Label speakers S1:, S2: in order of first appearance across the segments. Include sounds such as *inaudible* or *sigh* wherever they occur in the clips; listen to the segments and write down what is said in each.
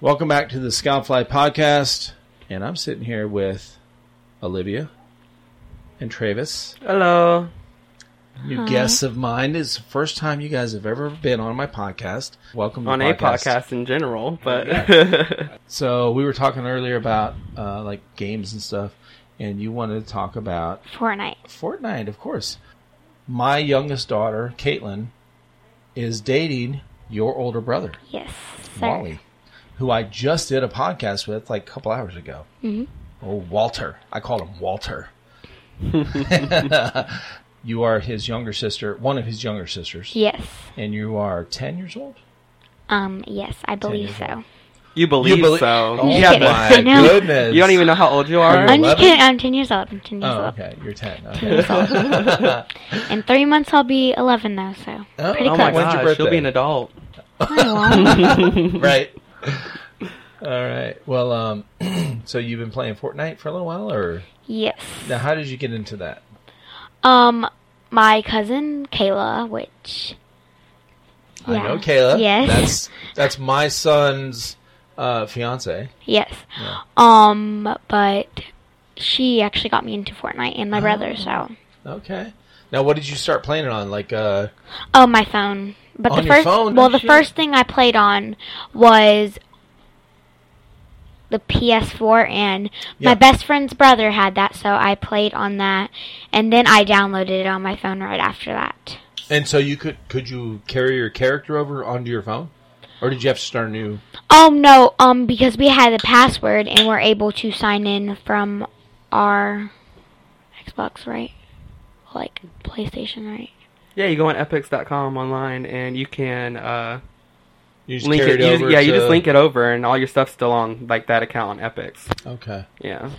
S1: Welcome back to the Scoutfly podcast, and I'm sitting here with Olivia and Travis.
S2: Hello.
S1: New guests of mine It's the first time you guys have ever been on my podcast. Welcome to
S2: On
S1: the
S2: a podcast in general, but
S1: So we were talking earlier about uh, like games and stuff, and you wanted to talk about
S3: Fortnite.
S1: Fortnite, of course. My youngest daughter, Caitlin, is dating your older brother,
S3: Yes. sir.
S1: Wally, who I just did a podcast with like a couple hours ago. Mm-hmm. Oh, Walter. I call him Walter. you are his younger sister, one of his younger sisters,
S3: Yes.
S1: and you are 10 years old?
S3: Um. Yes, I believe
S1: years
S3: so.
S2: *laughs* you believe
S1: You belie-
S2: so.
S1: Oh,
S2: *laughs*
S3: Yeah,
S1: my
S3: I know.
S1: goodness.
S2: You don't even know how old you
S1: Are
S2: are.
S1: you-
S3: I'm just
S1: 11?
S3: kidding. I'm ten years old. I'm ten years
S1: Oh,
S3: old.
S1: okay. You're 10. Okay. *laughs*
S3: In three months, I'll be eleven though. So
S1: Oh,
S3: pretty
S2: oh my
S1: When's
S3: close.
S1: your
S2: gosh, you'll
S1: birthday?
S2: be an adult.
S3: I
S2: *laughs*
S3: won't.
S1: right. All right. Well, um, *clears throat* so you've been playing Fortnite for a little while, or
S3: yes.
S1: now how did you get into that?
S3: Um. My cousin Kayla, which
S1: I know
S3: Yeah.
S1: Kayla.
S3: Yes.
S1: That's that's my son's uh, fiance.
S3: yes.
S1: Yeah.
S3: Um. But she actually got me into Fortnite and my
S1: Oh.
S3: brother. So
S1: Okay. Now, what did you start playing it on? Like, uh,
S3: oh, my phone. But
S1: On
S3: the
S1: your
S3: first
S1: phone?
S3: well,
S1: Oh,
S3: the
S1: shit.
S3: first thing I played on was. The PS4 and
S1: Yeah.
S3: my best friend's brother had that, so I played on that, and then I downloaded it on my phone right after that.
S1: and so you could could you carry your character over onto your phone, or did you have to start a new?
S3: Oh no, um, because we had the password and we're able to sign in from our Xbox, right? Like PlayStation, right?
S2: Yeah, you go on epics.com online and you can uh,
S1: You just
S2: link
S1: carry
S2: it.
S1: it,
S2: you just-
S1: over.
S2: yeah, you
S1: to-
S2: just link it over and all your stuff's still on like that account on Epics.
S1: Okay.
S2: Yeah.
S3: So,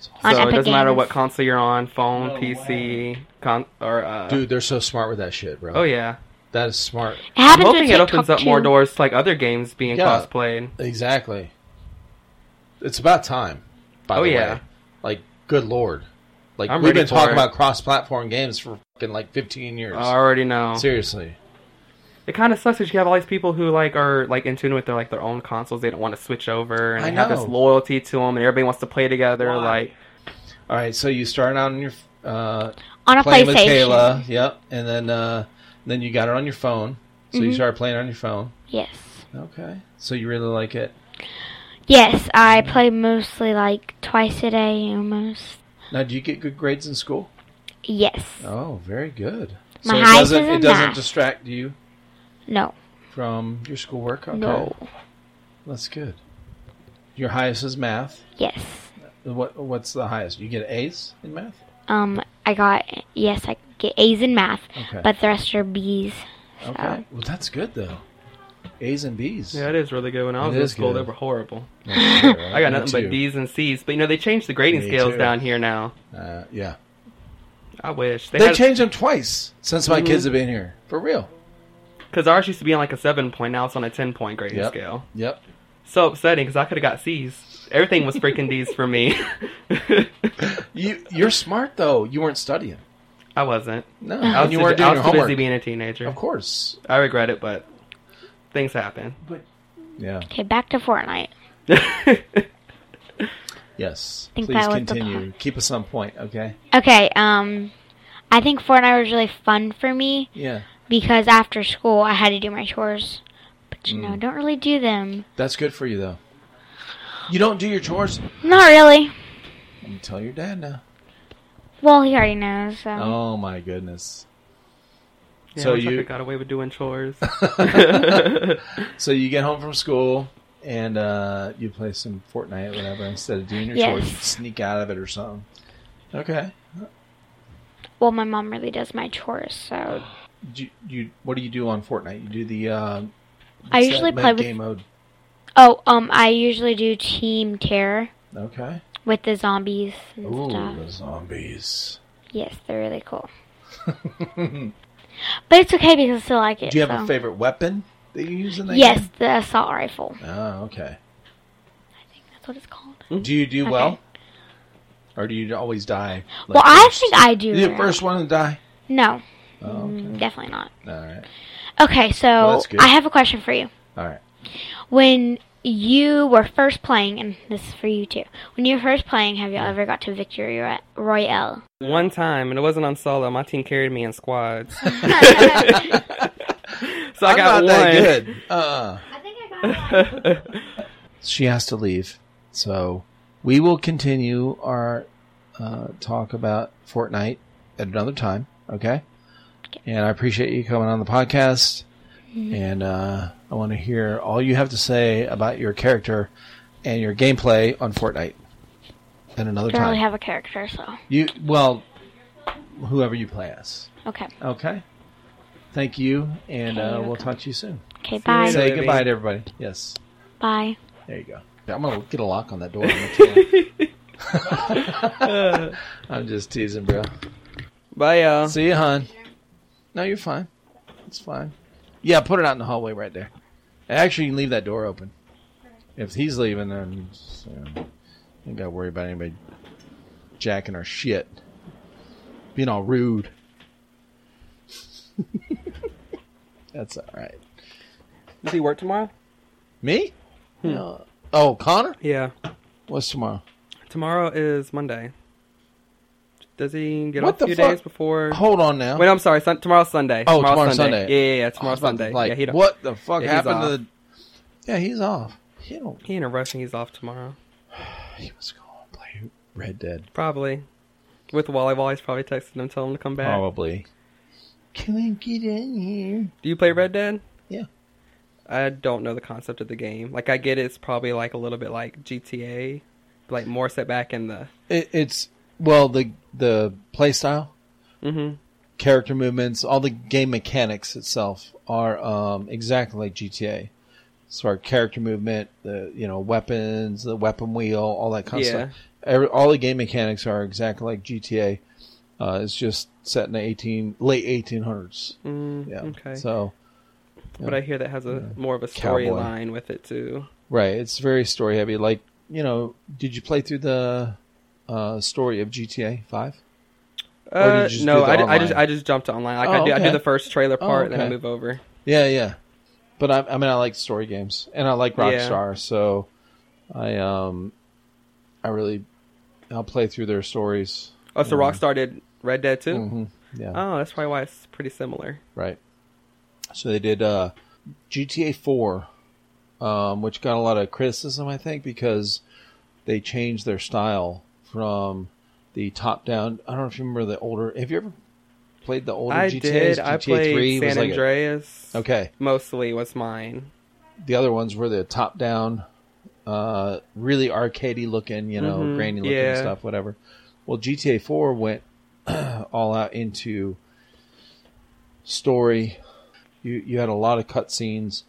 S2: So
S3: on
S2: it
S3: Epic
S2: doesn't matter
S3: Games.
S2: what console you're on, phone,
S1: No
S2: PC, con- or uh,
S1: Dude, they're so smart with that shit, bro.
S2: Oh yeah.
S1: That is smart.
S3: It
S2: I'm
S3: happens
S2: hoping
S3: with
S2: it
S3: TikTok
S2: opens up
S3: too.
S2: more doors to like other games being
S1: Yeah.
S2: cosplayed.
S1: Exactly. It's about time. By
S2: Oh,
S1: the
S2: yeah.
S1: way, like good lord, like
S2: I'm
S1: we've
S2: ready
S1: been
S2: for
S1: talking
S2: it.
S1: about cross-platform games for fucking like 15 years.
S2: I already know.
S1: Seriously,
S2: It kind of sucks that you have all these people who like are like in tune with their like their own consoles. They don't want to switch over, and
S1: I
S2: they have
S1: know.
S2: this loyalty to them, and everybody wants to play together.
S1: Why?
S2: Like,
S1: all right. So you started out on your uh,
S3: on a
S1: playing
S3: PlayStation.
S1: with Kayla, yep, and then uh, then you got it on your phone. So
S3: Mm-hmm.
S1: you started playing on your phone.
S3: Yes,
S1: Okay, so you really like it.
S3: yes, I play mostly like twice a day, almost.
S1: Now, do you get good grades in school?
S3: Yes,
S1: Oh, very good.
S3: My
S1: so it
S3: highest
S1: doesn't
S3: is
S1: it
S3: a
S1: doesn't
S3: nine.
S1: distract you
S3: no,
S1: from your schoolwork. Okay.
S3: no,
S1: that's good. Your highest is math.
S3: yes.
S1: What what's the highest? You get A's in math?
S3: Um, I got yes, I get A's in math,
S1: Okay.
S3: but uh, the rest are B's. So.
S1: okay. Well, that's good though. A's and B's.
S2: yeah, it is really good. When I
S1: It
S2: was in
S1: is
S2: school,
S1: good.
S2: they were horrible.
S1: I
S2: *laughs* I got nothing but D's and C's. But you know, they changed the grading
S1: Me
S2: scales
S1: too.
S2: down here now.
S1: Uh, yeah.
S2: I wish
S1: They,
S2: they had Mm-hmm.
S1: changed them twice since my kids have been here. For real.
S2: because ours used to be on like a seven point. Now it's on a ten point grading
S1: Yep.
S2: scale.
S1: Yep.
S2: So upsetting because I could have got C's. Everything was freaking D's for me. *laughs*
S1: You you're smart though. You weren't studying.
S2: I wasn't.
S1: No.
S2: I was,
S1: and you
S2: too-
S1: weren't
S2: I
S1: doing your
S2: was too
S1: homework.
S2: busy being a teenager.
S1: Of course.
S2: I regret it, but things happen. *laughs*
S1: Yeah.
S3: Okay, back to Fortnite.
S1: Yes.
S3: Think
S1: Please
S3: that was the
S1: continue. Keep us on point, okay?
S3: Okay, um, I think Fortnite was really fun for me
S1: Yeah.
S3: because after school I had to do my chores, but you
S1: Mm.
S3: know, don't really do them.
S1: That's good for you though. You don't do your chores.
S3: Not really.
S1: You tell your dad now.
S3: Well, he already knows. So.
S1: Oh my
S3: *laughs*
S1: goodness.
S2: Yeah,
S1: So
S2: I wish I
S1: you-
S2: coulda got away with
S1: *laughs*
S2: doing chores. *laughs*
S1: So you get home from school and uh, you play some Fortnite or whatever instead of doing your
S3: Yes.
S1: chores, you sneak out of it or something. Okay.
S3: Well, my mom really does my chores, so
S1: Do you, you what do you do on Fortnite? You do the um,
S3: I
S1: what's
S3: usually
S1: that
S3: play
S1: game mode.
S3: oh, um, I usually do Team Terror
S1: Okay.
S3: with the zombies and
S1: Ooh,
S3: stuff.
S1: the
S3: *laughs*
S1: zombies.
S3: Yes, they're really cool. but it's okay because I still like it.
S1: Do you have
S3: so.
S1: a favorite weapon that you use in that
S3: Yes,
S1: game?
S3: the assault rifle.
S1: Oh, okay.
S3: That's what it's called.
S1: Do you do
S3: Okay.
S1: well? Or do you always die? like,
S3: well, I
S1: first?
S3: think I do.
S1: You're the
S3: now.
S1: first one to die.
S3: No,
S1: Oh, okay.
S3: mm, definitely not.
S1: All right.
S3: Okay, so
S1: Well, that's good. *laughs*
S3: *laughs* I have a question for you.
S1: All right.
S3: When you were first playing, and this is for you too. When you were first playing, have you ever got to victory Roy- royale?
S2: One time, and it wasn't on solo. My team carried me
S1: *laughs*
S2: in squads, so I
S1: I'm
S2: got
S1: not
S2: one.
S1: that good. Uh-uh.
S3: I think I got
S1: She has to leave. So we will continue our uh, talk about Fortnite at another time. Okay. And I appreciate you coming on the podcast. And uh, I want to hear all you have to say about your character and your gameplay on Fortnite at another
S3: I don't really
S1: time.
S3: have a character, so
S1: you well, whoever you play as.
S3: okay.
S1: Okay. Thank you, and
S3: Okay,
S1: uh,
S3: you're
S1: we'll
S3: welcome.
S1: talk to you soon.
S3: Okay,
S2: you
S3: bye,
S2: later.
S1: Say
S2: Libby.
S1: goodbye to everybody. Yes.
S3: bye.
S1: There you go. I'm gonna get a lock on that door. I'm gonna
S2: *laughs*
S1: tell you. *laughs* I'm just teasing, bro.
S2: Bye, y'all.
S1: See you, hon. No, you're fine. It's fine. Yeah, put it out in the hallway right there. Actually, you can leave that door open. If he's leaving, then so, ain't got to worry about anybody jacking our shit, being all rude. *laughs* That's all right.
S2: Does he work tomorrow?
S1: Me? No. Oh, Connor.
S2: Yeah.
S1: What's tomorrow?
S2: Tomorrow is Monday. Does he get
S1: What
S2: off
S1: the
S2: a few
S1: fuck?
S2: days before?
S1: Hold on now.
S2: Wait, I'm sorry. Sun- tomorrow's Sunday.
S1: Oh, tomorrow's Sunday.
S2: Yeah, yeah, yeah.
S1: I was
S2: Tomorrow's
S1: about to
S2: Sunday.
S1: be like,
S2: yeah, he don't,
S1: what the fuck
S2: Yeah, he's
S1: happened to
S2: off.
S1: the? Yeah, he's off. He don't.
S2: He ain't a rushing. He's off tomorrow,
S1: He was going to play Red Dead.
S2: probably. With volleyball, he's probably texting him, telling him to come back.
S1: Probably. Can we get in here?
S2: Do you play Red Dead?
S1: Yeah.
S2: I don't know the concept of the game. Like, I get it's probably like a little bit like GTA, like more set back in the.
S1: It, it's well the the play style,
S2: Mm-hmm.
S1: character movements, all the game mechanics itself are um, exactly like GTA. As far as character movement, the you know weapons, the weapon wheel, all that kind
S2: Yeah.
S1: of stuff. Every, all the game mechanics are exactly like GTA. Uh, it's just set in the eighteen late eighteen hundreds.
S2: Mm,
S1: Yeah.
S2: Okay.
S1: Mm-hmm. So
S2: But I hear that has a more of a
S1: Cowboy.
S2: storyline with it too.
S1: right, it's very story heavy. Like you know, did you play through the uh, story of GTA Five? Or did you
S2: Uh,
S1: just do
S2: no,
S1: the
S2: I, I just
S1: online?
S2: I just jumped online. Like
S1: Oh,
S2: I, do, I
S1: okay.
S2: do the first trailer
S1: Oh,
S2: part, and then I
S1: okay.
S2: move over.
S1: Yeah, yeah. But I, I mean, I like story games, and I like
S2: Yeah.
S1: Rockstar, so I um, I really I'll play through their stories.
S2: Oh, so Rockstar did Red Dead too.
S1: hmm Yeah,
S2: Oh, that's probably why it's pretty similar.
S1: right. So they did uh, GTA Four, um, which got a lot of criticism, I think, because they changed their style from the top down. I don't know if you remember the older. Have you ever played the older
S2: I
S1: GTAs?
S2: did. I played
S1: was
S2: San
S1: like a-
S2: Andreas.
S1: okay.
S2: Mostly was mine.
S1: the other ones were the top down, uh, really arcadey looking, you know,
S2: Mhm,
S1: grainy looking
S2: yeah.
S1: stuff, whatever. Well, GTA 4 went *clears throat* all out into story. You you had a lot of cutscenes.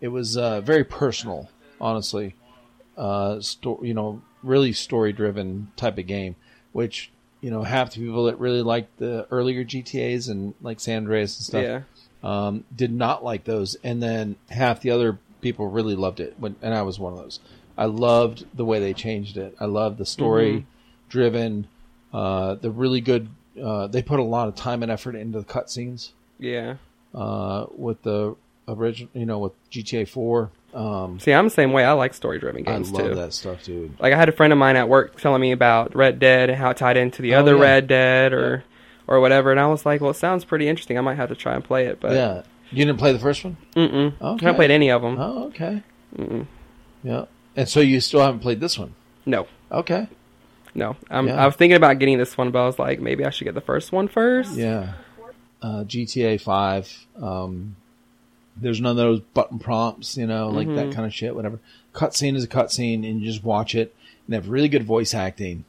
S1: It was uh, very personal, honestly. Uh, sto- you know, really story driven type of game, which you know half the people that really liked the earlier GTA's and like San Andreas and stuff
S2: Yeah.
S1: um, did not like those, and then half the other people really loved it. When, and I was one of those. I loved the way they changed it. I loved the
S2: Mm-hmm.
S1: story-driven, uh, the really good. Uh, they put a lot of time and effort into the cutscenes
S2: Yeah.
S1: uh, with the original, you know, with GTA Four. Um,
S2: See, I'm the same way. I like story driven
S1: I
S2: games
S1: love
S2: too.
S1: that stuff, dude.
S2: Like I had a friend of mine at work telling me about Red Dead and how it tied into the
S1: Oh,
S2: other
S1: yeah.
S2: Red Dead or or whatever, and I was like, well, it sounds pretty interesting. I might have to try and play it, but
S1: yeah, you didn't play the first one.
S2: mm-mm. I
S1: Okay.
S2: haven't played any of them.
S1: Oh, okay.
S2: Mm-mm.
S1: Yeah, and so you still haven't played this one.
S2: No,
S1: Okay.
S2: no. Um,
S1: Yeah.
S2: I was thinking about getting this one, but I was like, maybe I should get the first one first.
S1: Yeah. Uh, GTA 5. Um, there's none of those button prompts, you know, like that kind of shit, whatever. Cutscene is a cutscene, and you just watch it. And they have really good voice acting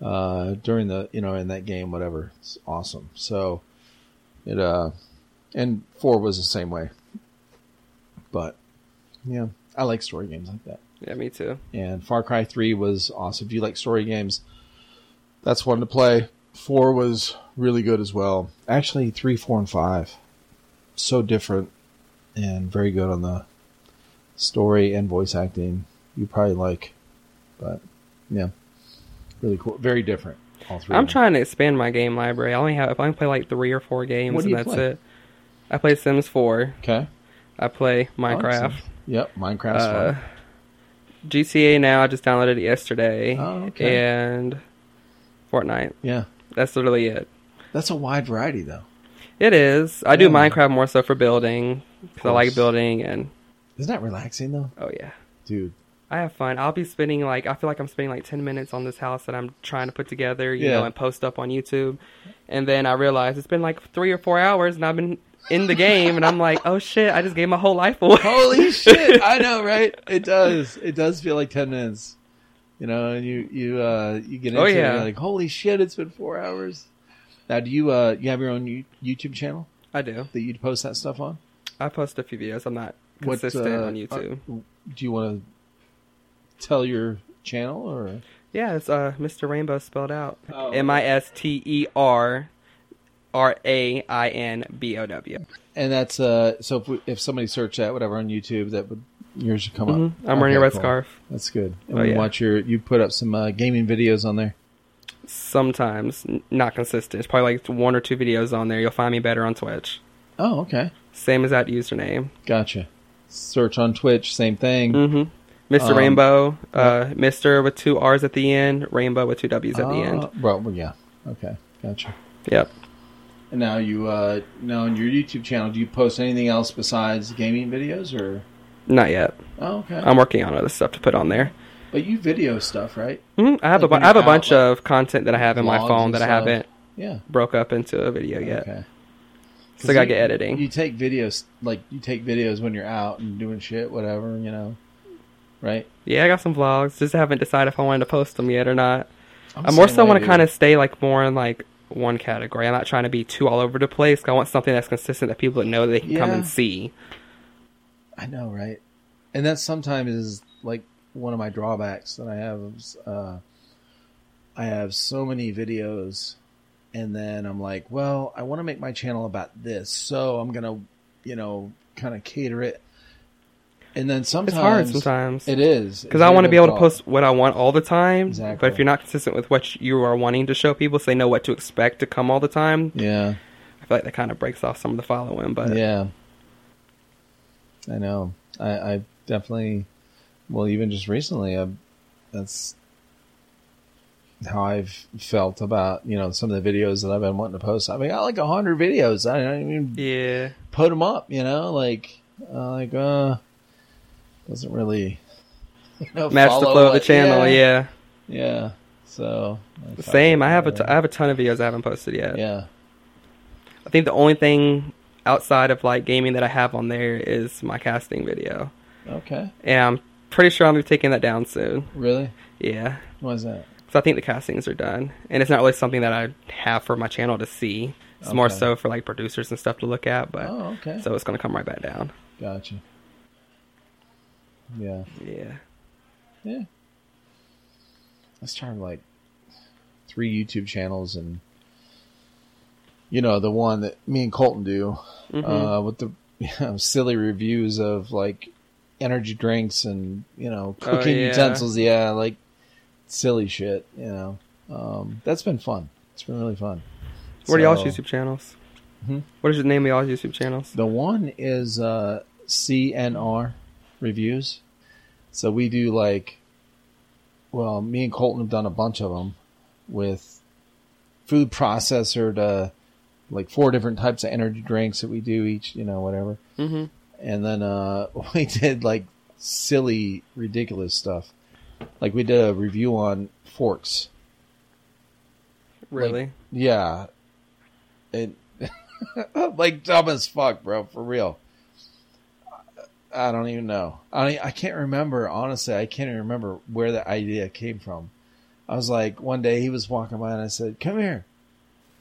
S1: uh, during the, you know, in that game, whatever. It's awesome. So it, uh, and 4 was the same way. But, yeah, I like story games like that
S2: Yeah, me too.
S1: and Far Cry 3 was awesome. If you like story games, that's one to play. 4 was really good as well. Actually, 3, 4, and 5. So different and very good on the story and voice acting. You probably like, but yeah, really cool. Very different. All three.
S2: I'm
S1: of them.
S2: trying to expand my game library. I only have I only play like three or four games,
S1: What do
S2: and
S1: you
S2: that's
S1: play?
S2: it. I play Sims 4.
S1: Okay.
S2: I play Minecraft.
S1: Oh, Awesome. Yep. Minecraft's
S2: Uh,
S1: fun.
S2: GTA now. I just downloaded it yesterday,
S1: Oh, okay.
S2: and Fortnite.
S1: Yeah,
S2: That's literally it.
S1: that's a wide variety though.
S2: It is. I do
S1: Yeah.
S2: Minecraft more so for building because I like
S1: course.
S2: building, and
S1: Isn't that relaxing though,
S2: oh yeah,
S1: dude?
S2: I have fun. I'll be spending like I feel like I'm spending like ten minutes on this house that I'm trying to put together, you
S1: Yeah.
S2: know, and post up on YouTube, and then I realize it's been like three or four hours, and I've been in the game, and I'm like, oh shit, I just gave my whole life away. *laughs*
S1: Holy shit! I know, right? It does. It does feel like ten minutes. You know, and you you uh, you get into
S2: Oh,
S1: it and
S2: yeah.
S1: you're like, holy shit! It's been four hours. Now, do you uh, you have your own you- YouTube channel
S2: I do.
S1: that you post that stuff on?
S2: I post a few videos. I'm not
S1: What,
S2: consistent
S1: uh,
S2: on YouTube.
S1: Do you want to tell your channel or?
S2: yeah, it's uh, Mr. Rainbow spelled out.
S1: Oh, okay.
S2: M I S T E R R A I N B O W.
S1: And that's uh, so if we, if somebody searched that whatever on YouTube, that would yours would come
S2: Mhm.
S1: up.
S2: I'm
S1: Mm-hmm. Okay,
S2: wearing a red
S1: cool.
S2: scarf.
S1: That's good. And
S2: Oh,
S1: we
S2: yeah.
S1: watch your you put up some uh, gaming videos on there.
S2: Sometimes n- not consistent. It's probably like one or two videos on there. You'll find me better on Twitch.
S1: Oh, okay,
S2: Same as that username.
S1: gotcha. Search on Twitch, same thing.
S2: Mm-hmm. Mr.
S1: Um,
S2: Rainbow. Uh, Mr. with two R's at the end. Rainbow with two W's at the
S1: Uh,
S2: end.
S1: Well, well, yeah. Okay, gotcha.
S2: Yep.
S1: And now you uh, now on your YouTube channel, do you post anything else besides gaming videos or?
S2: Not yet.
S1: Oh, okay.
S2: I'm working on other stuff to put on there.
S1: but you video stuff, right?
S2: Mhm. I have
S1: Like
S2: a bu-
S1: when
S2: I have a
S1: you're out,
S2: bunch
S1: like,
S2: of content that I have in my
S1: vlogs
S2: phone
S1: and
S2: that I
S1: stuff.
S2: haven't
S1: Yeah.
S2: broke up into a video yet.
S1: Okay.
S2: So I gotta get editing.
S1: You take videos like you take videos when you're out and doing shit, whatever, you know. Right?
S2: Yeah, I got some vlogs. Just haven't decided if I wanted to post them yet or not.
S1: I'm
S2: I more so want to kind of stay like more in like one category. I'm not trying to be too all over the place. I want something that's consistent that people know they can come and
S1: Yeah.
S2: see.
S1: I know, right? And that sometimes is like one of my drawbacks that I have. Is, uh, I have so many videos, and then I'm like, well, I want to make my channel about this, so I'm gonna, you know, kind of cater it. And then sometimes
S2: It's hard sometimes
S1: It is
S2: because I want to be able to post what I want all the time. But
S1: Exactly.
S2: if you're not consistent with what you are wanting to show people, so they know what to expect to come all the time.
S1: Yeah,
S2: I feel like that kind of breaks off some of the following. But
S1: yeah. I know. I, I definitely. Well, even just recently, I, that's how I've felt about you know some of the videos that I've been wanting to post. I mean, I got like a hundred videos. I don't even
S2: yeah,
S1: put them up. You know, like uh, like uh, doesn't really *laughs* you know,
S2: match the
S1: follow
S2: flow of the
S1: what-
S2: channel. Yeah,
S1: yeah. So I thought,
S2: same. I have a t-
S1: whatever.
S2: I have a ton of videos I haven't posted yet.
S1: yeah.
S2: I think the only thing outside of like gaming that I have on there is my casting video,
S1: Okay.
S2: and I'm pretty sure I'm gonna be taking that down soon.
S1: Really?
S2: Yeah,
S1: Why is that?
S2: so I think the castings are done, and it's not really something that I have for my channel to see. It's more
S1: Okay.
S2: so for like producers and stuff to look at, but
S1: Oh, okay.
S2: so it's gonna come right back down.
S1: Gotcha. Yeah.
S2: Yeah,
S1: Yeah. I started like three YouTube channels and you know, the one that me and Colton do,
S2: Mhm.
S1: uh, with the *laughs* you know, silly reviews of like energy drinks and, you know,
S2: Oh,
S1: cooking
S2: yeah.
S1: utensils. Yeah. Like silly shit, you know. Um, that's been fun. It's been really fun.
S2: what are y'all's
S1: So-
S2: YouTube channels?
S1: Mhm.
S2: What is the name of y'all's YouTube channels?
S1: The one is uh, CNR reviews. So we do like, well, me and Colton have done a bunch of them with food processor to like four different types of energy drinks that we do each, you know, whatever.
S2: Mhm.
S1: And then uh, *laughs* we did like silly, ridiculous stuff. Like we did a review on forks.
S2: Really?
S1: Yeah. And *laughs* like dumb as fuck, bro, for real. I I don't even know. I I can't remember honestly. I can't even remember where the idea came from. I was like one day he was walking by and I said, "Come here.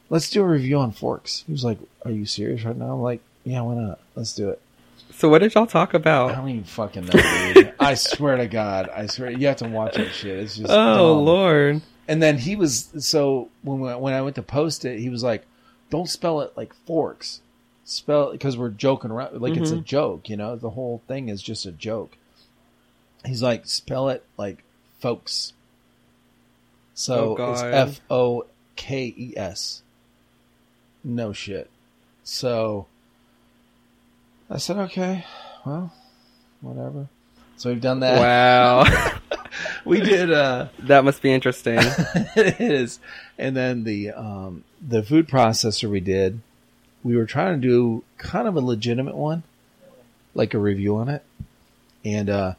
S1: Let's do a review on forks." He was like, "Are you serious right now?" I'm like, "Yeah, why not? Let's do it."
S2: so what did y'all talk
S1: I
S2: about?
S1: don't even fucking know. *laughs* Dude. I swear to God, I swear you have to watch that shit. It's just
S2: Oh
S1: dumb.
S2: lord.
S1: *laughs* And then he was so when we- when I went to post it, he was like, "Don't spell it like forks, spell because we're joking around. Like it's a
S2: Mm-hmm.
S1: joke, you know. The whole thing is just a joke." He's like, "Spell it like folks." So
S2: Oh,
S1: it's
S2: God.
S1: F O K E S. No shit. So I said, "Okay, well, whatever." So we've done that.
S2: Wow, *laughs*
S1: We did. Uh,
S2: that must be
S1: *laughs*
S2: interesting.
S1: it is. And then the um, the food processor we did, we were trying to do kind of a legitimate one, like a review on it. And uh,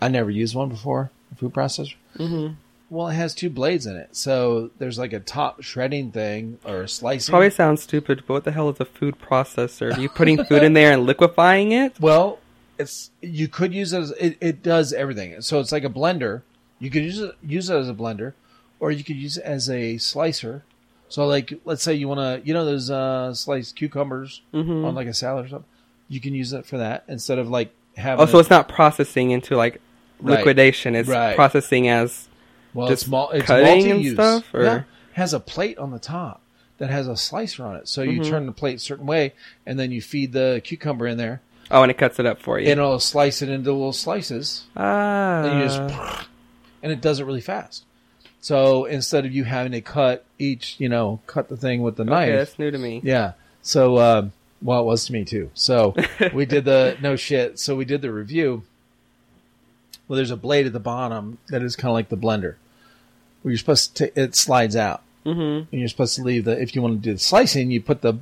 S1: I never used one before, a food processor.
S2: Mhm.
S1: Well, it has two blades in it, so there's like a top shredding thing or slicing.
S2: Probably sounds stupid, but what the hell is a food processor? Are you putting food in there and liquefying it?
S1: Well, it's you could use it as it, it does everything. So it's like a blender. You could use it use it as a blender, or you could use it as a slicer. So like let's say you wanna you know those uh sliced cucumbers
S2: Mm-hmm.
S1: on like a salad or something. You can use it for that instead of like having
S2: Oh, so
S1: it-
S2: it's not processing into like
S1: Right.
S2: liquidation. It's
S1: Right.
S2: processing as
S1: well,
S2: just
S1: it's, mul- it's
S2: cutting and
S1: multi-use.
S2: stuff, or-
S1: Yeah. It has a plate on the top that has a slicer on it. So you
S2: Mm-hmm.
S1: turn the plate a certain way and then you feed the cucumber in there
S2: oh, and it cuts it up for you.
S1: and it'll slice it into little slices.
S2: ah,
S1: and you just *laughs* and it does it really fast. So instead of you having to cut each, you know, cut the thing with the
S2: okay,
S1: knife,
S2: that's new to me.
S1: yeah. So um, well, it was to me too.
S2: *laughs*
S1: So we did the no shit. So we did the review. Well, there's a blade at the bottom that is kind of like the blender, where you're supposed to ta- it slides out,
S2: Mm-hmm.
S1: and you're supposed to leave the if you want to do the slicing, you put the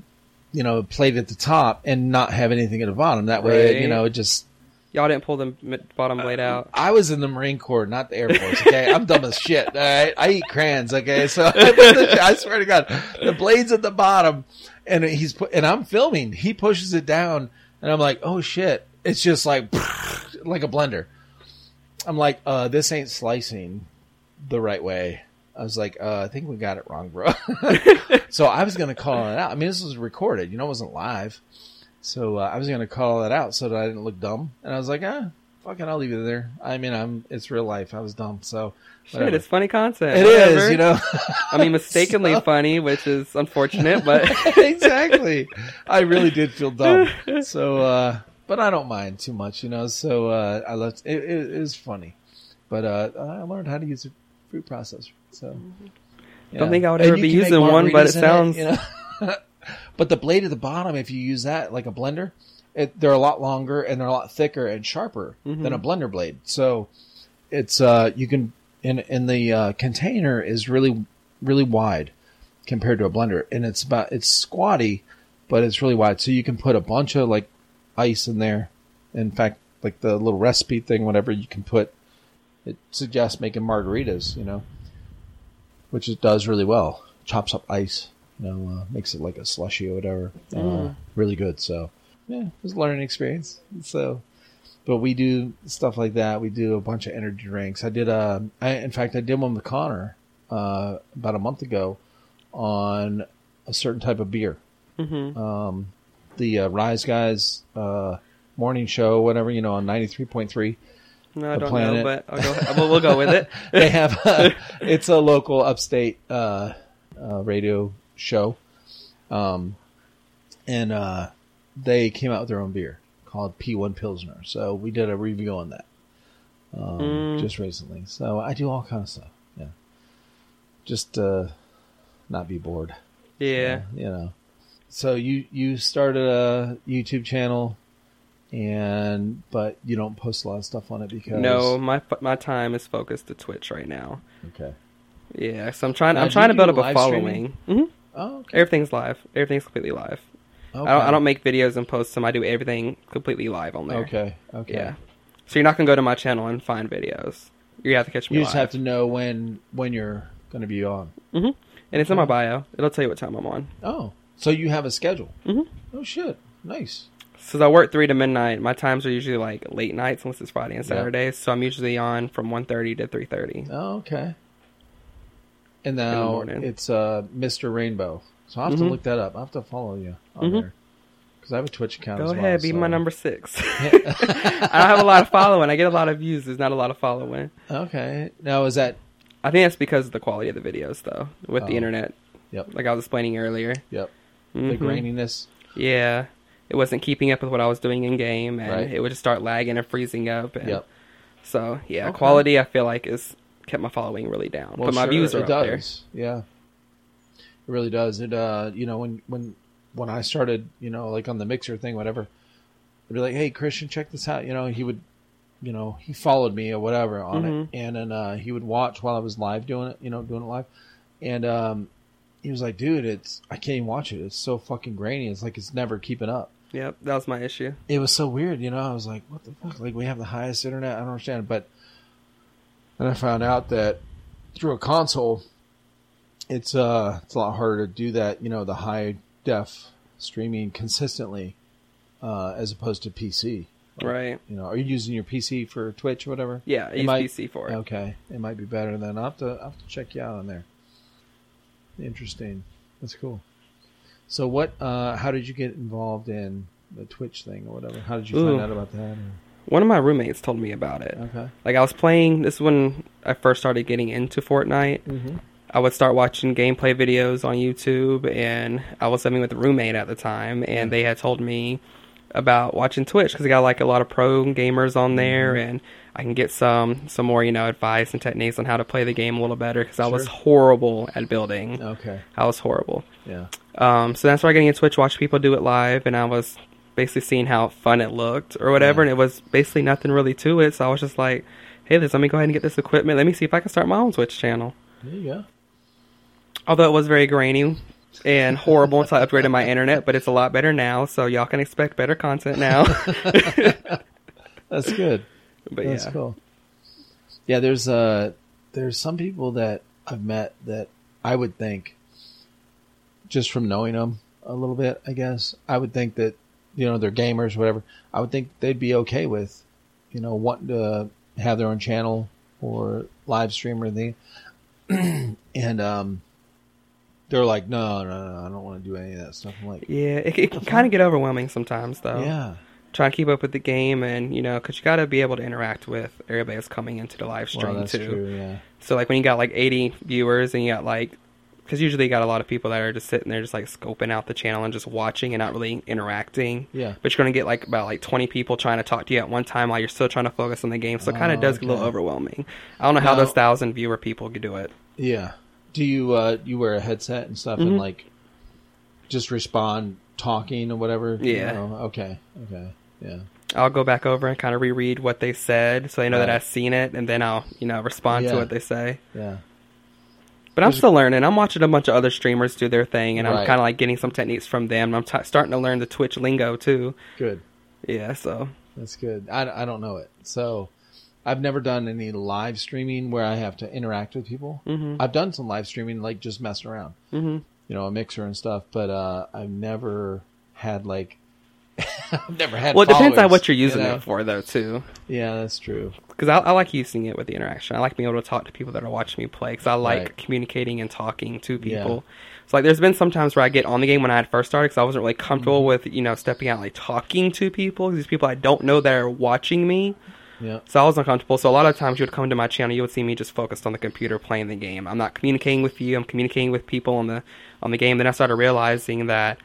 S1: you know plate at the top and not have anything at the bottom. That way,
S2: Right.
S1: you know, it just
S2: Y'all didn't pull the m-
S1: Uh,
S2: bottom
S1: *laughs*
S2: blade out.
S1: I was in the Marine Corps, not the Air Force. Okay, I'm dumb as shit. All right, I eat crayons. Okay, so *laughs* I swear to God, the blade's at the bottom, and he's pu- and I'm filming. He pushes it down, and I'm like, oh shit! It's just like *laughs* like a blender. I'm like, uh, this ain't slicing the right way. I was like, uh, I think we got it wrong, bro. *laughs* so I was gonna call it out. I mean, this was recorded. You know, it wasn't live. So uh, I was gonna call that out so that I didn't look dumb. And I was like, ah, fucking, I'll leave it there. I mean, I'm it's real life. I was dumb, so
S2: Shit,
S1: whatever.
S2: it's funny content.
S1: It is,
S2: Whatever.
S1: you know.
S2: I
S1: *laughs*
S2: mean, mistakenly funny, which is unfortunate, but *laughs*
S1: exactly. I really did feel dumb. So, uh, but I don't mind too much, you know. So uh, I left. It, it, it was funny, but uh, I learned how to use a food processor. So yeah.
S2: Mm-hmm. Don't think I would
S1: And
S2: ever
S1: you
S2: be
S1: can make
S2: using one, but
S1: margaritas
S2: it
S1: in
S2: sounds-
S1: you know? *laughs* but the blade at the bottom, if you use that like a blender, it, they're a lot longer and they're a lot thicker and sharper than a blender blade. So it's uh, you can in in the uh, container is really really wide compared to a blender, and it's about it's squatty, but it's really wide. So you can put a bunch of like ice in there. In fact, like the little recipe thing, whatever you can put, it suggests making margaritas. You know, which it does really well. Chops up ice, you know, uh, makes it like a slushy or whatever. Uh, really good. So, yeah, it was a learning experience. So, but we do stuff like that. We do a bunch of energy drinks. I did a, I, in fact, I did one with Connor uh, about a month ago on a certain type of beer.
S2: Mhm.
S1: Um, the uh, Rise Guys uh, morning show, whatever, you know, on 93.3
S2: no, I
S1: The
S2: don't know.
S1: planet.
S2: But I'll go, we'll, we'll go
S1: *laughs*
S2: with it.
S1: they have uh it's a local upstate uh, uh, radio show, um, and uh, they came out with their own beer called P1 Pilsner. So we did a review on that um,
S2: Mm.
S1: just recently. So I do all kind of stuff. Yeah, just uh, not be bored. Uh,
S2: Yeah.
S1: You know. So you you started a YouTube channel. And but you don't post a lot of stuff on it because
S2: No, my fo- my time is focused to Twitch right now.
S1: okay
S2: Yeah, so I'm trying.
S1: Now,
S2: I'm
S1: do
S2: trying
S1: you
S2: to build
S1: do
S2: up a
S1: live
S2: following.
S1: streaming?
S2: hmm
S1: oh okay,
S2: Everything's live. Everything's completely live. I don't. I
S1: Okay.
S2: don't make videos and post them. I do everything completely live on there.
S1: Okay. Okay.
S2: Yeah. So you're not gonna go to my channel and find videos. You have to catch me.
S1: You just have to know when when you're going to be on.
S2: hmm And it's in my bio. It'll tell you what time I'm on.
S1: Oh, so you have a schedule.
S2: Mhm.
S1: Oh shit! Nice.
S2: Since I work three to midnight, my times are usually like late nights unless it's Friday and Saturdays. So I'm usually on from 1.30 to three thirty.
S1: Oh, okay. And
S2: the
S1: now
S2: morning.
S1: it's uh, Mr. Rainbow. So I have
S2: Mhm.
S1: to look that up. I have to follow you on there because I have a Twitch account.
S2: Mm-hmm. Go
S1: as well,
S2: ahead, be
S1: so-
S2: my
S1: *laughs*
S2: number six. *laughs* I don't have a lot of following. I get a lot of views. There's not a lot of following.
S1: Okay. Now is that?
S2: I think that's because of the quality of the videos, though, with the
S1: Oh.
S2: internet.
S1: Yep.
S2: Like I was explaining earlier.
S1: Yep. The
S2: Mhm.
S1: graininess.
S2: Yeah. It wasn't keeping up with what I was doing in game, and
S1: Right.
S2: it would just start lagging and freezing up. And
S1: Yep.
S2: So, yeah,
S1: Okay.
S2: quality I feel like is kept my following really down. but my
S1: sure,
S2: views are
S1: it
S2: up there.
S1: does. Yeah, it really does. It uh, you know, when when when I started, you know, like on the mixer thing, whatever, I'd be like, "Hey, Christian, check this out." You know, he would you know, he followed me or whatever on
S2: Mm-hmm.
S1: it, and then uh, he would watch while I was live doing it, you know, doing it live, and um, he was like, "Dude, it's I can't even watch it. It's so fucking grainy. It's like it's never keeping up."
S2: Yep, that was my issue.
S1: It was so weird, you know. I was like, "What the fuck?" Like we have the highest internet. I don't understand, but then I found out that through a console, it's uh, it's a lot harder to do that. You know, the high def streaming consistently, uh, as opposed to PC.
S2: Right.
S1: You know, are you using your PC for Twitch or whatever?
S2: Yeah, I
S1: It
S2: use
S1: might-
S2: PC for it.
S1: Okay, it might be better than I'll have to. I'll have to check you out on there. Interesting. That's cool. So what? Uh, how did you get involved in the Twitch thing or whatever? How did you
S2: Ooh.
S1: find out about that? Or,
S2: One of my roommates told me about it.
S1: okay.
S2: Like I was playing this is when I first started getting into Fortnite.
S1: Mm-hmm.
S2: I would start watching gameplay videos on YouTube, and I was living with a roommate at the time, and they had told me about watching Twitch because they got like a lot of pro gamers on there, and I can get some some more you know advice and techniques on how to play the game a little better because I was
S1: Sure.
S2: horrible at building.
S1: Okay.
S2: I was horrible.
S1: Yeah.
S2: Um, so that's where I got into Twitch, watch people do it live, and I was basically seeing how fun it looked or whatever, and it was basically nothing really to it. So I was just like, hey, this, let me go ahead and get this equipment. Let me see if I can start my own Twitch channel.
S1: There you go.
S2: Although it was very grainy and horrible until I upgraded my internet, but it's a lot better now, so y'all can expect better
S1: *laughs*
S2: content now. *laughs*
S1: That's good.
S2: but
S1: That's
S2: yeah.
S1: cool. Yeah, there's uh there's some people that I've met that I would think just from knowing them a little bit, I guess, I would think that you know they're gamers, whatever. I would think they'd be okay with you know wanting to have their own channel or live stream or anything. *clears throat* and um, they're like, no, no, no, I don't want to do any of that stuff. I'm like,
S2: Yeah, it, it can kind of get overwhelming sometimes, though.
S1: yeah,
S2: Trying to keep up with the game, and you know, because you got to be able to interact with everybody that's coming into the live stream
S1: well, that's
S2: too.
S1: true, yeah.
S2: So like when you got like 80 viewers and you got like, because usually you got a lot of people that are just sitting there just like scoping out the channel and just watching and not really interacting.
S1: Yeah.
S2: But you're gonna get like about like 20 people trying to talk to you at one time while you're still trying to focus on the game. So it kind
S1: Oh,
S2: of does get a little
S1: okay.
S2: overwhelming. I don't know how
S1: Now-
S2: those thousand viewer people could do it.
S1: Yeah. Do you uh you wear a headset and stuff
S2: Mm-hmm.
S1: and like just respond talking or whatever? you
S2: Yeah.
S1: know? Okay. Okay. Yeah.
S2: I'll go back over and kind of reread what they said so they know that
S1: Right.
S2: I've seen it, and then I'll you know respond
S1: Yeah.
S2: to what they say.
S1: Yeah.
S2: But I'm still learning. I'm watching a bunch of other streamers do their thing, and I'm
S1: Right.
S2: kind of like getting some techniques from them. I'm t- starting to learn the Twitch lingo too.
S1: Good.
S2: Yeah, so
S1: That's good. I, I don't know it. So I've never done any live streaming where I have to interact with people. Mm-hmm. I've done some live streaming, like just messing around, mm-hmm. you know, a mixer and stuff, but uh, I've never had like. *laughs* I've never had.
S2: Well, it depends on
S1: followers,
S2: what you're using
S1: you know?
S2: it for, though, too.
S1: Yeah, that's true.
S2: Because I, I like using it with the interaction. I like being able to talk to people that are watching me play. Because I like
S1: Right.
S2: communicating and talking to
S1: Yeah.
S2: people. So like, there's been some times where I get on the game when I had first started because I wasn't really comfortable
S1: Mm-hmm.
S2: with you know stepping out like talking to people. These people I don't know that are watching me.
S1: Yeah.
S2: So I was uncomfortable. So a lot of times you would come to my channel, you would see me just focused on the computer playing the game. I'm not communicating with you. I'm communicating with people on the on the game. Then I started realizing that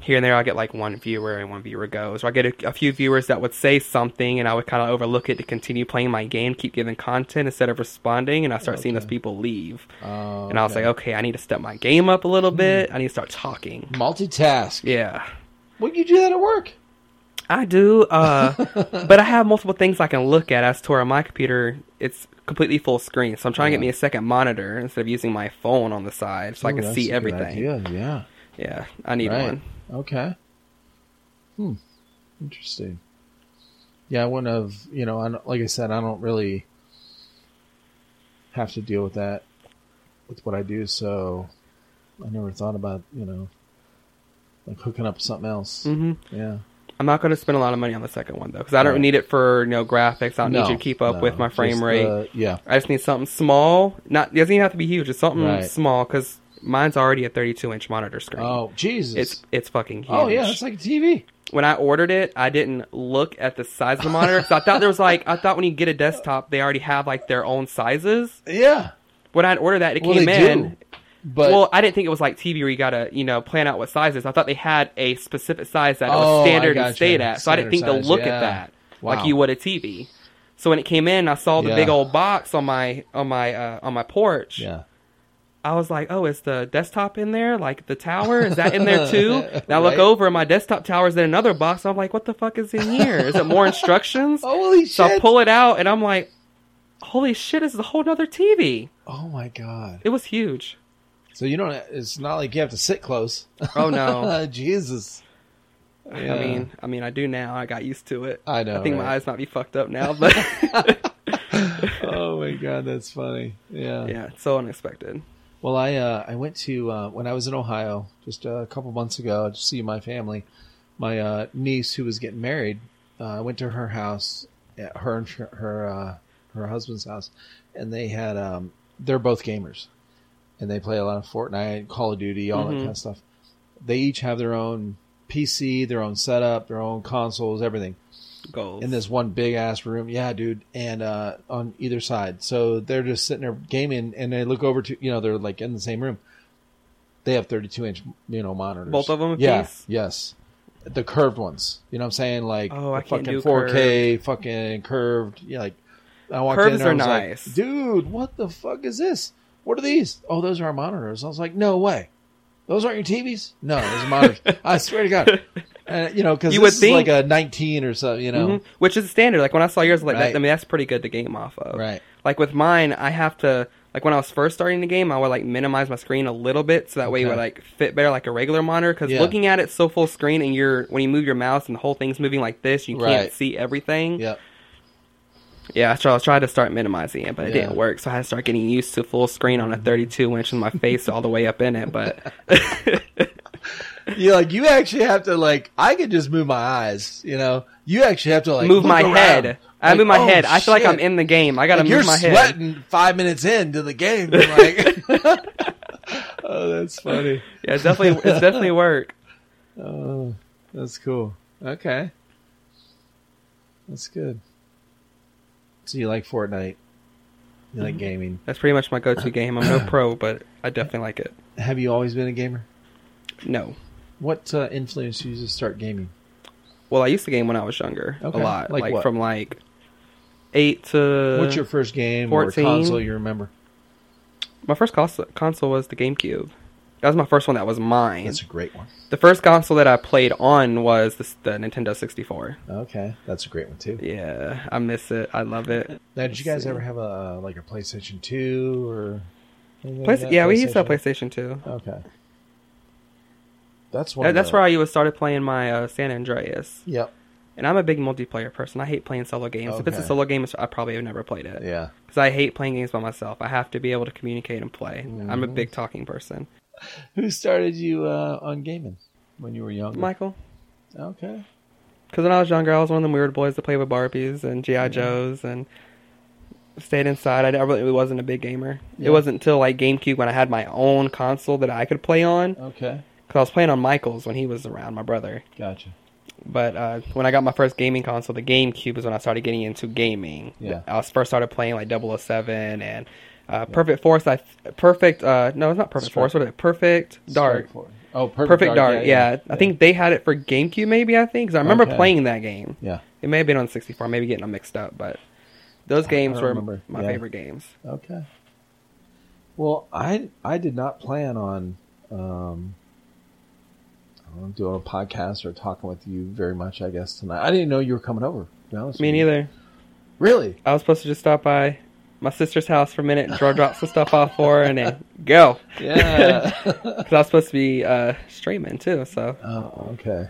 S2: here and there I get like one viewer and one viewer goes. Or I get a, a few viewers that would say something and I would kind of overlook it to continue playing my game, keep giving content instead of responding. And I start seeing those people leave.
S1: Uh,
S2: and I was like, okay, Hmm. I need to step my game up a little bit. I need to start talking.
S1: multitask.
S2: Yeah.
S1: Would you do that at work?
S2: I do,
S1: *laughs*
S2: *laughs* uh, but I have multiple things I can look at as to where my computer it's completely full screen. So I'm trying to get me a second monitor instead of using my phone on the side, so I
S1: Ooh,
S2: can
S1: Oh, that's
S2: see
S1: a good
S2: everything.
S1: idea, Yeah.
S2: Yeah, I need one.
S1: Okay. Hmm. Interesting. Yeah, I wouldn't have. You know, I don't, like I said, I don't really have to deal with that with what I do, so I never thought about you know like hooking up something else.
S2: hmm
S1: Yeah.
S2: I'm not going to spend a lot of money on the second one though, because I don't
S1: Right.
S2: need it for you know graphics. I don't
S1: No,
S2: need you to keep up
S1: no,
S2: with my frame
S1: just
S2: rate.
S1: the- yeah.
S2: I just need something small. Not it doesn't even have to be huge. It's something
S1: Right.
S2: small because mine's already a 32 inch monitor screen.
S1: Oh Jesus.
S2: It's it's fucking huge.
S1: oh yeah, it's like a TV.
S2: when I ordered it, I didn't look at the size of the monitor because I thought there was like I thought when you get a desktop, they already have like their own sizes.
S1: Yeah.
S2: When I ordered that, it
S1: Well,
S2: came
S1: they
S2: in.
S1: do. But
S2: well, I didn't think it was like TV where you gotta you know plan out what sizes. I thought they had a specific size that
S1: Oh,
S2: it
S1: I
S2: was standard and
S1: gotcha.
S2: stayed at, so I didn't think
S1: Standard
S2: to
S1: size,
S2: look
S1: yeah.
S2: at that
S1: Wow.
S2: like you would a TV. So when it came in, I saw the
S1: Yeah.
S2: big old box on my on my uh, on my porch.
S1: yeah.
S2: I was like, oh, is the desktop in there? Like the tower? Is that in there
S1: *laughs*
S2: too? And I look
S1: Right.
S2: over and my desktop tower is in another box. I'm like, what the fuck is in here? Is it more instructions?
S1: *laughs* Oh, Holy
S2: so I
S1: shit!
S2: pull it out and I'm like, holy shit, this is a whole nother TV.
S1: oh my god!
S2: It was huge.
S1: So you don't. It's not like you have to sit close.
S2: Oh no.
S1: Jesus. *laughs* Yeah.
S2: I mean, I mean, I do now. I got used to it.
S1: I know,
S2: I think my
S1: right?
S2: eyes might be fucked up now, but
S1: *laughs*
S2: *laughs*
S1: oh my god, that's funny. Yeah.
S2: yeah, it's so unexpected.
S1: Well, I uh, I went to uh, when I was in Ohio just a couple months ago to see my family. My uh, niece who was getting married, uh, I went to her house, at her and her her, uh, her husband's house, and they had um, they're both gamers, and they play a lot of Fortnite, Call of Duty, all that
S2: Mhm.
S1: kind of stuff. They each have their own PC, their own setup, their own consoles, everything
S2: Goals.
S1: in this one big ass room. Yeah, dude. And uh, on either side. So they're just sitting there gaming and they look over to, you know, they're like in the same room. They have 32 inch, you know, monitors.
S2: Both of them a
S1: Yeah.
S2: piece?
S1: Yes. The curved ones. You know what I'm saying? Like,
S2: Oh, I
S1: the
S2: can't
S1: fucking
S2: do
S1: 4K, fucking curved. Yeah, like, I walked
S2: Curves
S1: in there
S2: are
S1: and I was
S2: nice.
S1: like, dude, what the fuck is this? What are these? Oh, those are our monitors. I was like, no way. Those aren't your TVs? No, those are
S2: *laughs*
S1: monitors. I swear to God. Uh, you know, because
S2: You
S1: this
S2: would
S1: is
S2: think-
S1: like a 19 or something, you know.
S2: Mhm. Which is standard. Like when I saw yours, like
S1: Right.
S2: that, I mean, that's pretty good to game off of. *laughs*
S1: Right.
S2: Like with mine, I have to like when I was first starting the game, I would like minimize my screen a little bit so that way it
S1: Okay.
S2: would like fit better like a regular monitor because
S1: Yeah.
S2: looking at it so full screen and you're when you move your mouse and the whole thing's moving like this, you can't
S1: Right.
S2: see everything.
S1: Yep.
S2: Yeah, so I was trying to start minimizing it, but it
S1: Yeah. Mm-hmm.
S2: didn't work. So I had to start getting used to full screen on a 32 inch with my face all the way up in it.
S1: *laughs*
S2: But *laughs*
S1: you like you actually have to like I could just move my eyes, you know. You actually have to like
S2: move
S1: look
S2: my
S1: around.
S2: head. I
S1: Like,
S2: move my
S1: oh,
S2: head. I feel like I'm
S1: shit.
S2: in the game. I gotta
S1: Like,
S2: move
S1: you're
S2: my head.
S1: sweating five minutes into the game. You're like, *laughs* oh, that's funny.
S2: Yeah, it's definitely
S1: *laughs*
S2: it's definitely work.
S1: Oh, that's cool. Okay, that's good. So you like Fortnite? You
S2: Mm-hmm.
S1: like gaming?
S2: That's pretty much my go-to game. I'm no pro, but I definitely like it.
S1: Have you always been a gamer?
S2: No.
S1: What uh, influenced you to start gaming?
S2: Well, I used to game when I was younger
S1: Okay.
S2: a lot,
S1: Like
S2: like,
S1: what?
S2: from like eight to.
S1: What's your first game
S2: 14.
S1: or console you remember?
S2: My first console, console was the GameCube. That was my first one. That was mine.
S1: That's a great one.
S2: The first console that I played on was the, the Nintendo 64.
S1: Okay, that's a great one too.
S2: Yeah, I miss it. I love it.
S1: Now, did you guys
S2: see.
S1: ever have a uh, like a PlayStation Two or? anything like
S2: Play-
S1: that?
S2: yeah, we used to have
S1: PlayStation?
S2: PlayStation 2.
S1: Okay, that's one.
S2: That, Uh, that's
S1: of
S2: where
S1: the-
S2: I even started playing my uh, San Andreas.
S1: Yep.
S2: And I'm a big multiplayer person. I hate playing solo games. If it's a
S1: Okay.
S2: solo game, it's- I probably have never played it.
S1: Yeah.
S2: Because I hate playing games by myself. I have to be able to communicate and play. I'm a
S1: Mhm.
S2: big talking person.
S1: Who started you uh, on gaming when you were younger?
S2: Michael?
S1: Okay.
S2: Because when I was younger, I was one of them weird boys that played with Barbies and G.I. Joes and stayed inside. I d- I really wasn't a big gamer.
S1: Yeah.
S2: It wasn't until like GameCube when I had my own console that I could play on.
S1: Okay.
S2: Because I was playing on Michael's when he was around, my brother.
S1: Gotcha.
S2: But uh, when I got my first gaming console, the GameCube is when I started getting into gaming.
S1: Yeah.
S2: I was first started playing like 007 and uh, Perfect Force. I Perfect. Uh, no, it's not Perfect
S1: Strike.
S2: Force. What is it? Perfect Dark.
S1: Straightforward. Oh, perfect,
S2: Perfect Dark. Yeah, I think they had it for GameCube. Maybe I think 'cause I remember
S1: Okay.
S2: playing that game.
S1: Yeah.
S2: It may have been on 64. Maybe getting them mixed up, but those games
S1: don't
S2: were
S1: remember.
S2: my
S1: Yeah.
S2: favorite games.
S1: Okay. Well, I I did not plan on um, I don't know, doing a podcast or talking with you very much. I guess tonight I didn't know you were coming over. to be honest
S2: Me
S1: with you.
S2: neither. *laughs*
S1: Really?
S2: I was supposed to just stop by my sister's house for a minute, and drop drop some stuff off for her, and then go.
S1: Yeah. *laughs*
S2: Because I was supposed to be uh, streaming too. So,
S1: oh, okay.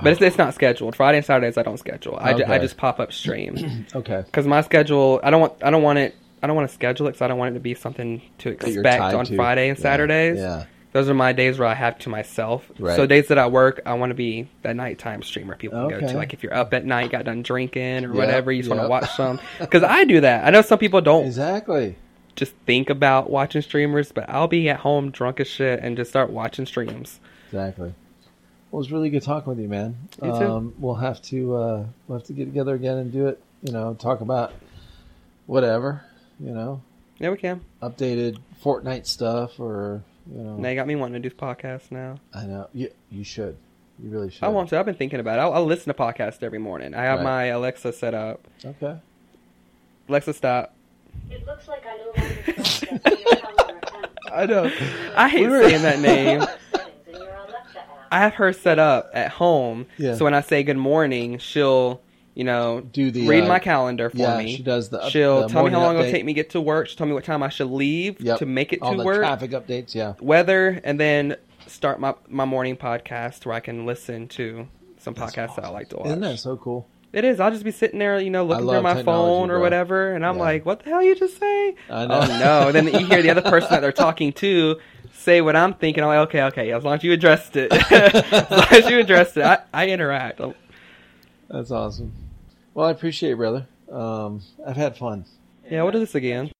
S2: but it's, it's not scheduled. Friday and Saturdays I don't schedule. I, ju- I
S1: Okay.
S2: just pop up stream
S1: Okay.
S2: because my schedule. I don't want. I don't want it. I don't want to schedule it because I don't want it to be something to
S1: That you're
S2: expect
S1: tied
S2: on
S1: to.
S2: Friday and
S1: Yeah.
S2: Saturdays.
S1: Yeah.
S2: Those are my days where I have to myself.
S1: Right.
S2: So days that I work, I want to be that nighttime streamer people can go
S1: Okay.
S2: to. Like if you're up at night, got done drinking or
S1: Yep,
S2: whatever, you just want
S1: yep.
S2: to watch
S1: *laughs*
S2: some. Because I do that. I know some people don't
S1: Exactly.
S2: just think about watching streamers, but I'll be at home drunk as shit and just start watching streams.
S1: Exactly. Well, it was really good talking with you, man.
S2: You too.
S1: Um, we'll have to uh, we'll have to get together again and do it. You know, talk about whatever. You know,
S2: Yeah, we can.
S1: updated Fortnite stuff or you know.
S2: Now you got me wanting to do podcasts now.
S1: I know you. You should. You really should.
S2: I want to. I've been thinking about it. I'll, I'll listen to podcasts every morning. I have
S1: Right.
S2: my Alexa set up.
S1: Okay.
S2: Alexa, stop.
S1: *laughs*
S4: It looks like I no longer have access to your calendar account.
S1: I *laughs* know.
S2: I hate
S1: We were-
S2: saying that name. I have her set up at home,
S1: Yeah.
S2: so when I say good morning, she'll you know
S1: *laughs* Do the,
S2: read
S1: uh,
S2: my calendar for
S1: yeah,
S2: me.
S1: she does the up-
S2: She'll
S1: the
S2: tell me
S1: morning
S2: how long
S1: update.
S2: it'll take me to get to work. She'll tell me what time I should leave
S1: Yep.
S2: to make it
S1: All
S2: to
S1: the
S2: work,
S1: traffic updates. Yeah.
S2: weather, and then start my my morning podcast where I can listen to some
S1: That's
S2: podcasts that I
S1: awesome.
S2: like to watch.
S1: Isn't that so cool?
S2: It is. I'll just be sitting there, you know, looking through
S1: love
S2: my
S1: technology,
S2: phone or
S1: bro.
S2: whatever, and I'm
S1: Yeah.
S2: like, "What the hell you just say?"
S1: I
S2: Oh
S1: know.
S2: no! And
S1: *laughs*
S2: then you hear the other person that they're talking to say what I'm thinking. I'm like, "Okay, okay." As long as you addressed it, *laughs* as long as you addressed it, I, I interact.
S1: That's awesome. Well, I appreciate it, brother. Um, I've had fun.
S2: Yeah, what is this again?